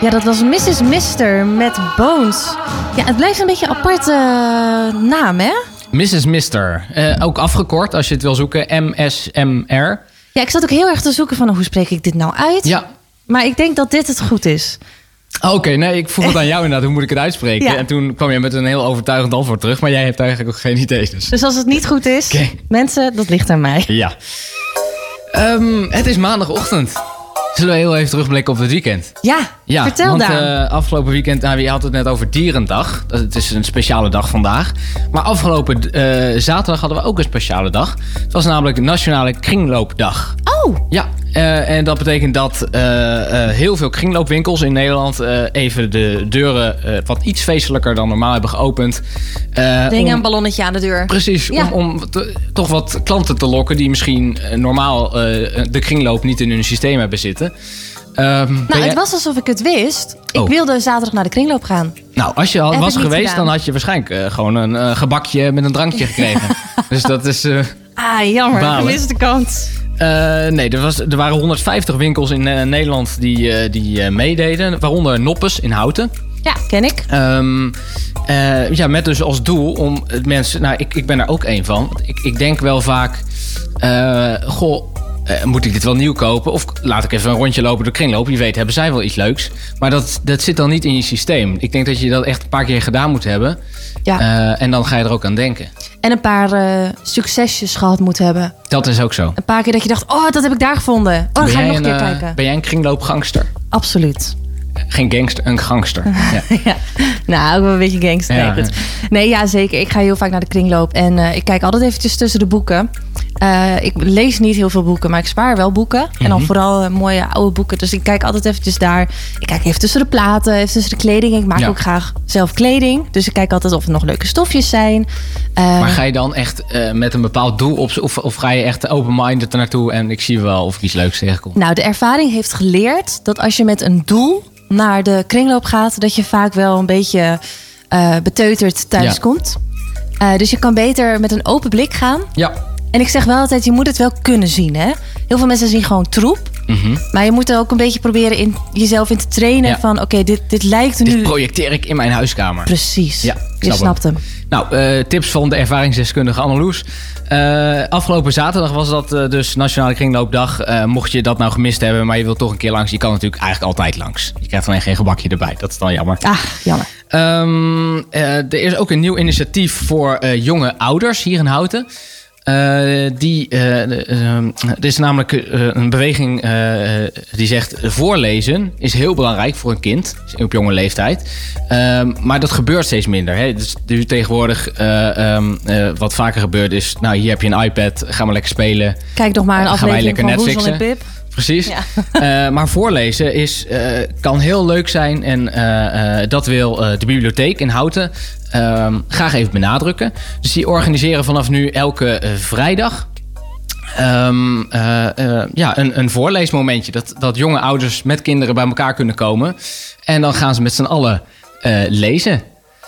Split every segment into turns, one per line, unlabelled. Ja, dat was Mrs. Mister met Bones. Ja, het blijft een beetje een aparte eh, naam, hè?
Mrs. Mister. Eh, ook afgekort als je het wil zoeken. MSMR.
Ja, ik zat ook heel erg te zoeken van hoe spreek ik dit nou uit?
Ja.
Maar ik denk dat dit het goed is.
Oh, Oké, nee, ik vroeg het aan jou inderdaad. Hoe moet ik het uitspreken?
Ja.
En toen kwam je met een heel overtuigend antwoord terug. Maar jij hebt eigenlijk ook geen idee. Dus.
Dus als het niet goed is,
Oké.
mensen, dat ligt aan mij.
Ja. Ehm, het is maandagochtend. Zullen we heel even terugblikken op het weekend?
Ja,
Ja,
vertel
want
daar.
eh, afgelopen weekend, nou, je had het net over Dierendag. Dat- Het is een speciale dag vandaag. Maar afgelopen eh, zaterdag hadden we ook een speciale dag. Het was namelijk Nationale Kringloopdag.
Oh,
Ja, eh, en dat betekent dat eh, eh, heel veel kringloopwinkels in Nederland eh, even de deuren eh, wat iets feestelijker dan normaal hebben geopend. Eh,
denk
om-
aan een ballonnetje aan de deur.
Precies,
Ja.
om, om te- toch wat klanten te lokken die misschien eh, normaal eh, de kringloop niet in hun systeem hebben zitten. Ehm, ben
Nou,
jij-
het was alsof ik het wist. Ik
Oh.
wilde zaterdag naar de kringloop gaan.
Nou, als je al
Heb
was
ik niet
geweest,
gedaan.
dan had je waarschijnlijk eh, gewoon een eh, gebakje met een drankje gekregen. dus dat is. eh,
Ah, jammer.
Balen.
Gemiste kans.
eh, nee, er, was, er waren 150 winkels in eh, Nederland die, eh, die eh, meededen. Waaronder Noppes in Houten.
Ja, ken ik.
Ehm, eh, ja, met dus als doel om het mensen. Nou, ik, ik ben er ook één van. Want Ik, ik denk wel vaak. eh, goh, eh, moet ik dit wel nieuw kopen? Of laat ik even een rondje lopen door de kringloop. Je weet, hebben zij wel iets leuks. Maar dat, dat zit dan niet in je systeem. Ik denk dat je dat echt een paar keer gedaan moet hebben.
Ja.
Eh, en dan ga je er ook aan denken.
En een paar eh, succesjes gehad moet hebben.
Dat is ook zo.
Een paar keer dat je dacht, oh, dat heb ik daar gevonden. Oh, dan
Ben
ga ik
jij
nog een keer
eh,
kijken.
Ben jij een kringloopgangster?
Absoluut.
Geen gangster, een gangster. ja.
ja. Nou, ook wel een beetje gangster.
Ja,
Nee, goed. nee, ja, zeker. Ik ga heel vaak naar de kringloop. En eh, ik kijk altijd eventjes tussen de boeken. Eh, ik lees niet heel veel boeken, maar ik spaar wel boeken. En
Mhm.
dan vooral eh, mooie oude boeken. Dus ik kijk altijd eventjes daar. Ik kijk even tussen de platen, even tussen de kleding. Ik maak
Ja.
ook graag zelf kleding. Dus ik kijk altijd of er nog leuke stofjes zijn. Eh,
Maar ga je dan echt eh, met een bepaald doel op... Of, of ga je echt open-minded ernaartoe en ik zie wel of ik iets leuks tegenkom?
Nou, de ervaring heeft geleerd dat als je met een doel naar de kringloop gaat, dat je vaak wel een beetje eh, beteuterd thuis
Ja.
komt. Eh, dus je kan beter met een open blik gaan.
Ja.
En ik zeg wel altijd, je moet het wel kunnen zien. Hè? Heel veel mensen zien gewoon troep.
Mhm.
Maar je moet er ook een beetje proberen in, jezelf in te trainen
Ja.
van oké, dit, dit lijkt
Dit
nu...
projecteer ik in mijn huiskamer.
Precies,
Ja, ik
je
snap
snapt hem.
Nou, eh, tips van de ervaringsdeskundige Anneloes. Eh afgelopen zaterdag was dat eh, dus Nationale Kringloopdag. Eh, mocht je dat nou gemist hebben, maar je wilt toch een keer langs... je kan natuurlijk eigenlijk altijd langs. Je krijgt alleen geen gebakje erbij. Dat is dan jammer.
Ah, jammer.
Ehm, eh, er is ook een nieuw initiatief voor eh, jonge ouders hier in Houten. Eh, die, eh, de- ehm, er is namelijk eh, een beweging eh, die zegt... voorlezen is heel belangrijk voor een kind op jonge leeftijd. Ehm, maar dat gebeurt steeds minder. Hè? Dus nu tegenwoordig eh, ehm, eh, wat vaker gebeurt is... nou, hier heb je een iPad, ga maar lekker spelen.
Kijk nog maar een
Gaan wij
aflevering
lekker
van Roezel en
Netflixen?
Pip.
Precies.
Ja.
Eh, maar voorlezen is, eh, kan heel leuk zijn. En eh, eh, dat wil eh, de bibliotheek in Houten ehm, graag even benadrukken. Dus die organiseren vanaf nu elke eh, vrijdag. ehm, eh, eh, ja, een, een voorleesmomentje. Dat, dat jonge ouders met kinderen bij elkaar kunnen komen. En dan gaan ze met z'n allen eh, lezen.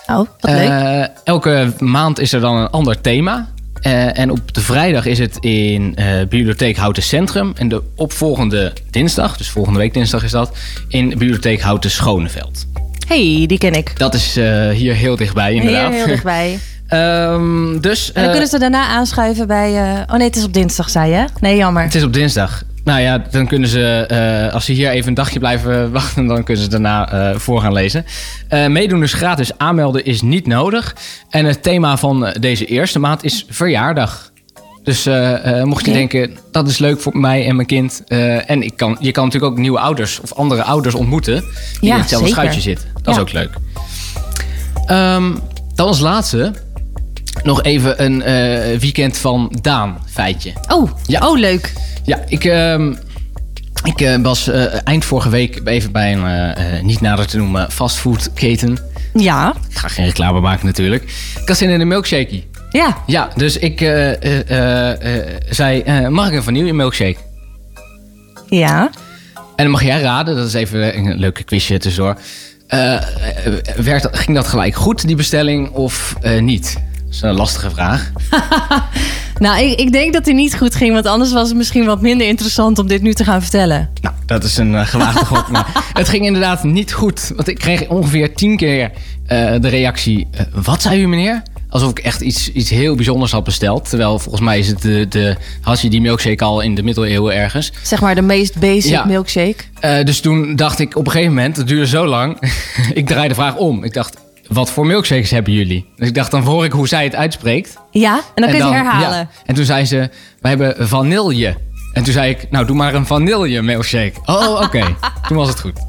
Oh, wat leuk.
Eh, elke maand is er dan een ander thema. Eh, en op de vrijdag is het in eh, Bibliotheek Houten Centrum. En de opvolgende dinsdag, dus volgende week dinsdag is dat, in Bibliotheek Houten Schoneveld.
hey, die ken ik.
Dat is eh, hier heel dichtbij, inderdaad.
Heel, heel dichtbij.
Ehm, dus
En dan
eh,
kunnen ze daarna aanschuiven bij... eh, oh nee, het is op dinsdag, zei je? Nee, jammer.
het is op dinsdag. Nou ja, dan kunnen ze, eh, als ze hier even een dagje blijven wachten, dan kunnen ze daarna eh, voor gaan lezen. Eh, meedoen is gratis, aanmelden is niet nodig. En het thema van eh, deze eerste maand is verjaardag. Dus eh, eh, mocht je
Oké.
denken, dat is leuk voor mij en mijn kind. eh, en ik kan, je kan natuurlijk ook nieuwe ouders of andere ouders ontmoeten die
Ja,
in hetzelfde
zeker.
schuitje zitten. Dat is
Ja.
ook leuk. Ehm, dan als laatste nog even een eh, weekend van Daan feitje.
Oh,
Ja.
oh leuk.
Ja, ik, ehm, ik eh, was eh, eind vorige week even bij een eh, eh, niet nader te noemen fastfoodketen.
Ja,
Ik ga geen reclame maken natuurlijk. Ik had zin in een milkshakey.
ja.
Ja, dus ik eh, eh, eh, eh, zei, eh, mag ik een vanille milkshake?
Ja.
En dan mag jij raden, dat is even een leuke quizje tussendoor. Eh, eh, werd, ging dat gelijk goed, die bestelling, of eh, niet? Dat is een lastige vraag.
Nou, ik, ik denk dat hij niet goed ging, want anders was het misschien wat minder interessant om dit nu te gaan vertellen.
Nou, dat is een eh, gewaagde gok. Maar het ging inderdaad niet goed. Want ik kreeg ongeveer tien keer eh, de reactie... eh, wat zei u, meneer? Alsof ik echt iets, iets heel bijzonders had besteld. Terwijl volgens mij is het de, de hasje die milkshake al in de middeleeuwen ergens.
Zeg maar de meest basic
Ja.
milkshake.
Eh, dus toen dacht ik op een gegeven moment, het duurde zo lang. ik draai de vraag om. Ik dacht, wat voor milkshakes hebben jullie? Dus ik dacht, dan hoor ik hoe zij het uitspreekt.
Ja, en dan kun je het
dan-
herhalen.
ja. En toen zei ze, wij hebben vanille. En toen zei ik, nou doe maar een vanille milkshake. Oh, oké. toen was het goed.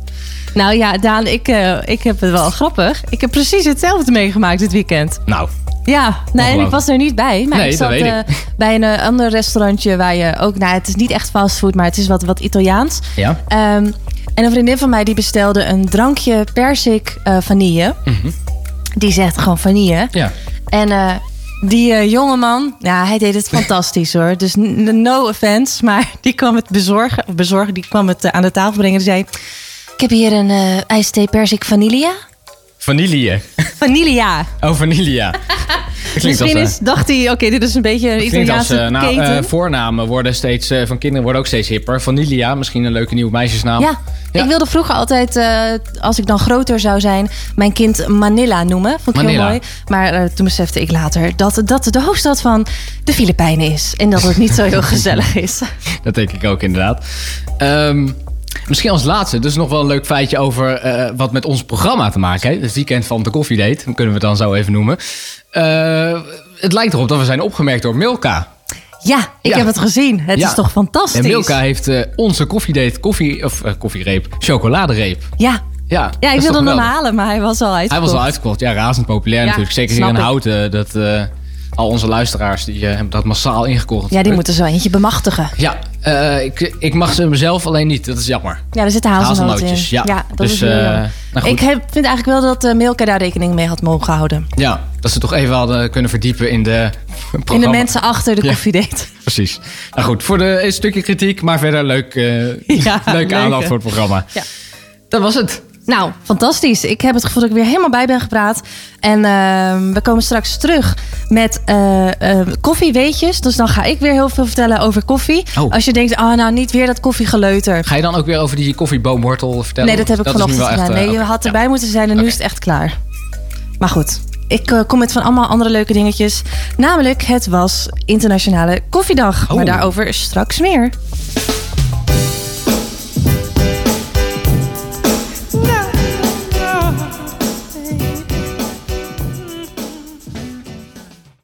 Nou ja, Daan, ik, eh, ik heb het wel grappig. Ik heb precies hetzelfde meegemaakt dit weekend.
Nou,
Ja, nee, en ik
Ongelooflijk.
was er niet bij. Maar
Nee,
ik
dat
zat
weet ik.
eh, bij een eh, ander restaurantje waar je ook... Nou, het is niet echt fastfood, maar het is wat, wat Italiaans.
ja.
Ehm, en een vriendin van mij die bestelde een drankje persik eh, vanille. Die zegt gewoon vanille.
Mhm. Ja.
En eh, die eh, jongeman, ja, hij deed het fantastisch hoor. Dus n- n- no offense, maar die kwam het bezorgen. Of bezorgen, die kwam het eh, aan de tafel brengen. Die zei, ik heb hier een eh ijsthee persik vanilla.
Vanille.
Vanilla.
Oh, vanilla.
Misschien is, dacht hij, oké, dit is een beetje een
eh, Klinkt als
Italiaanse
eh, nou,
keten.
eh, voornamen worden steeds, eh, van kinderen worden ook steeds hipper. Vanilia, misschien een leuke nieuwe meisjesnaam.
ja.
Ja.
ik wilde vroeger altijd, eh, als ik dan groter zou zijn, mijn kind Manila noemen. Vond ik heel
Manila.
mooi. Maar eh, toen besefte ik later dat dat de hoofdstad van de Filipijnen is. En dat het niet zo heel gezellig is.
Dat denk ik ook inderdaad. Ehm, misschien als laatste, dus nog wel een leuk feitje over eh, wat met ons programma te maken heeft. Het weekend van de koffiedate, kunnen we het dan zo even noemen. Eh, het lijkt erop dat we zijn opgemerkt door Milka.
Ja, ik
Ja.
heb het gezien. Het
Ja.
is toch fantastisch?
En Milka heeft eh, onze koffiedate koffie, of eh, koffiereep, chocoladereep.
Ja.
Ja,
Ja, ik
dat is
wilde
toch
hem
geweldig.
halen, maar hij was al uit.
Hij was al uitverkocht. Ja, razend populair
Ja,
natuurlijk. Zeker hier
snap
in
ik.
Houten. Dat, eh, al onze luisteraars die, eh, hebben dat massaal ingekocht.
Ja, die moeten zo eentje bemachtigen.
Ja, eh, ik, ik mag ze mezelf alleen niet. Dat is jammer.
Ja, er zitten hazelnoten in.
Hazelnootjes, ja.
dat
Dus,
is heel
eh,
jammer.
nou
Ik
goed.
heb, vind eigenlijk wel dat eh Milka daar rekening mee had mogen houden.
Ja, dat ze toch even hadden kunnen verdiepen in de
In de
programma.
mensen achter de
Ja.
koffiedate.
Precies. Nou goed, voor de, een stukje kritiek, maar verder leuk, eh
Ja,
leuk
leuke.
aanloop voor het programma.
Ja.
Dat was het.
Nou, fantastisch. Ik heb het gevoel dat ik weer helemaal bij ben gepraat. En ehm, we komen straks terug met eh eh koffieweetjes. Dus dan ga ik weer heel veel vertellen over koffie.
Oh.
Als je denkt, oh nou, niet weer dat koffiegeleuter.
Ga je dan ook weer over die koffieboomwortel vertellen?
Nee, dat heb ik
is nu
vanochtend
wel echt,
gedaan.
eh,
Nee, je
oké.
had
Ja.
erbij moeten zijn en nu
Oké.
is het echt klaar. Maar goed, ik eh, kom met van allemaal andere leuke dingetjes. Namelijk, het was Internationale Koffiedag.
Oh.
Maar daarover straks meer.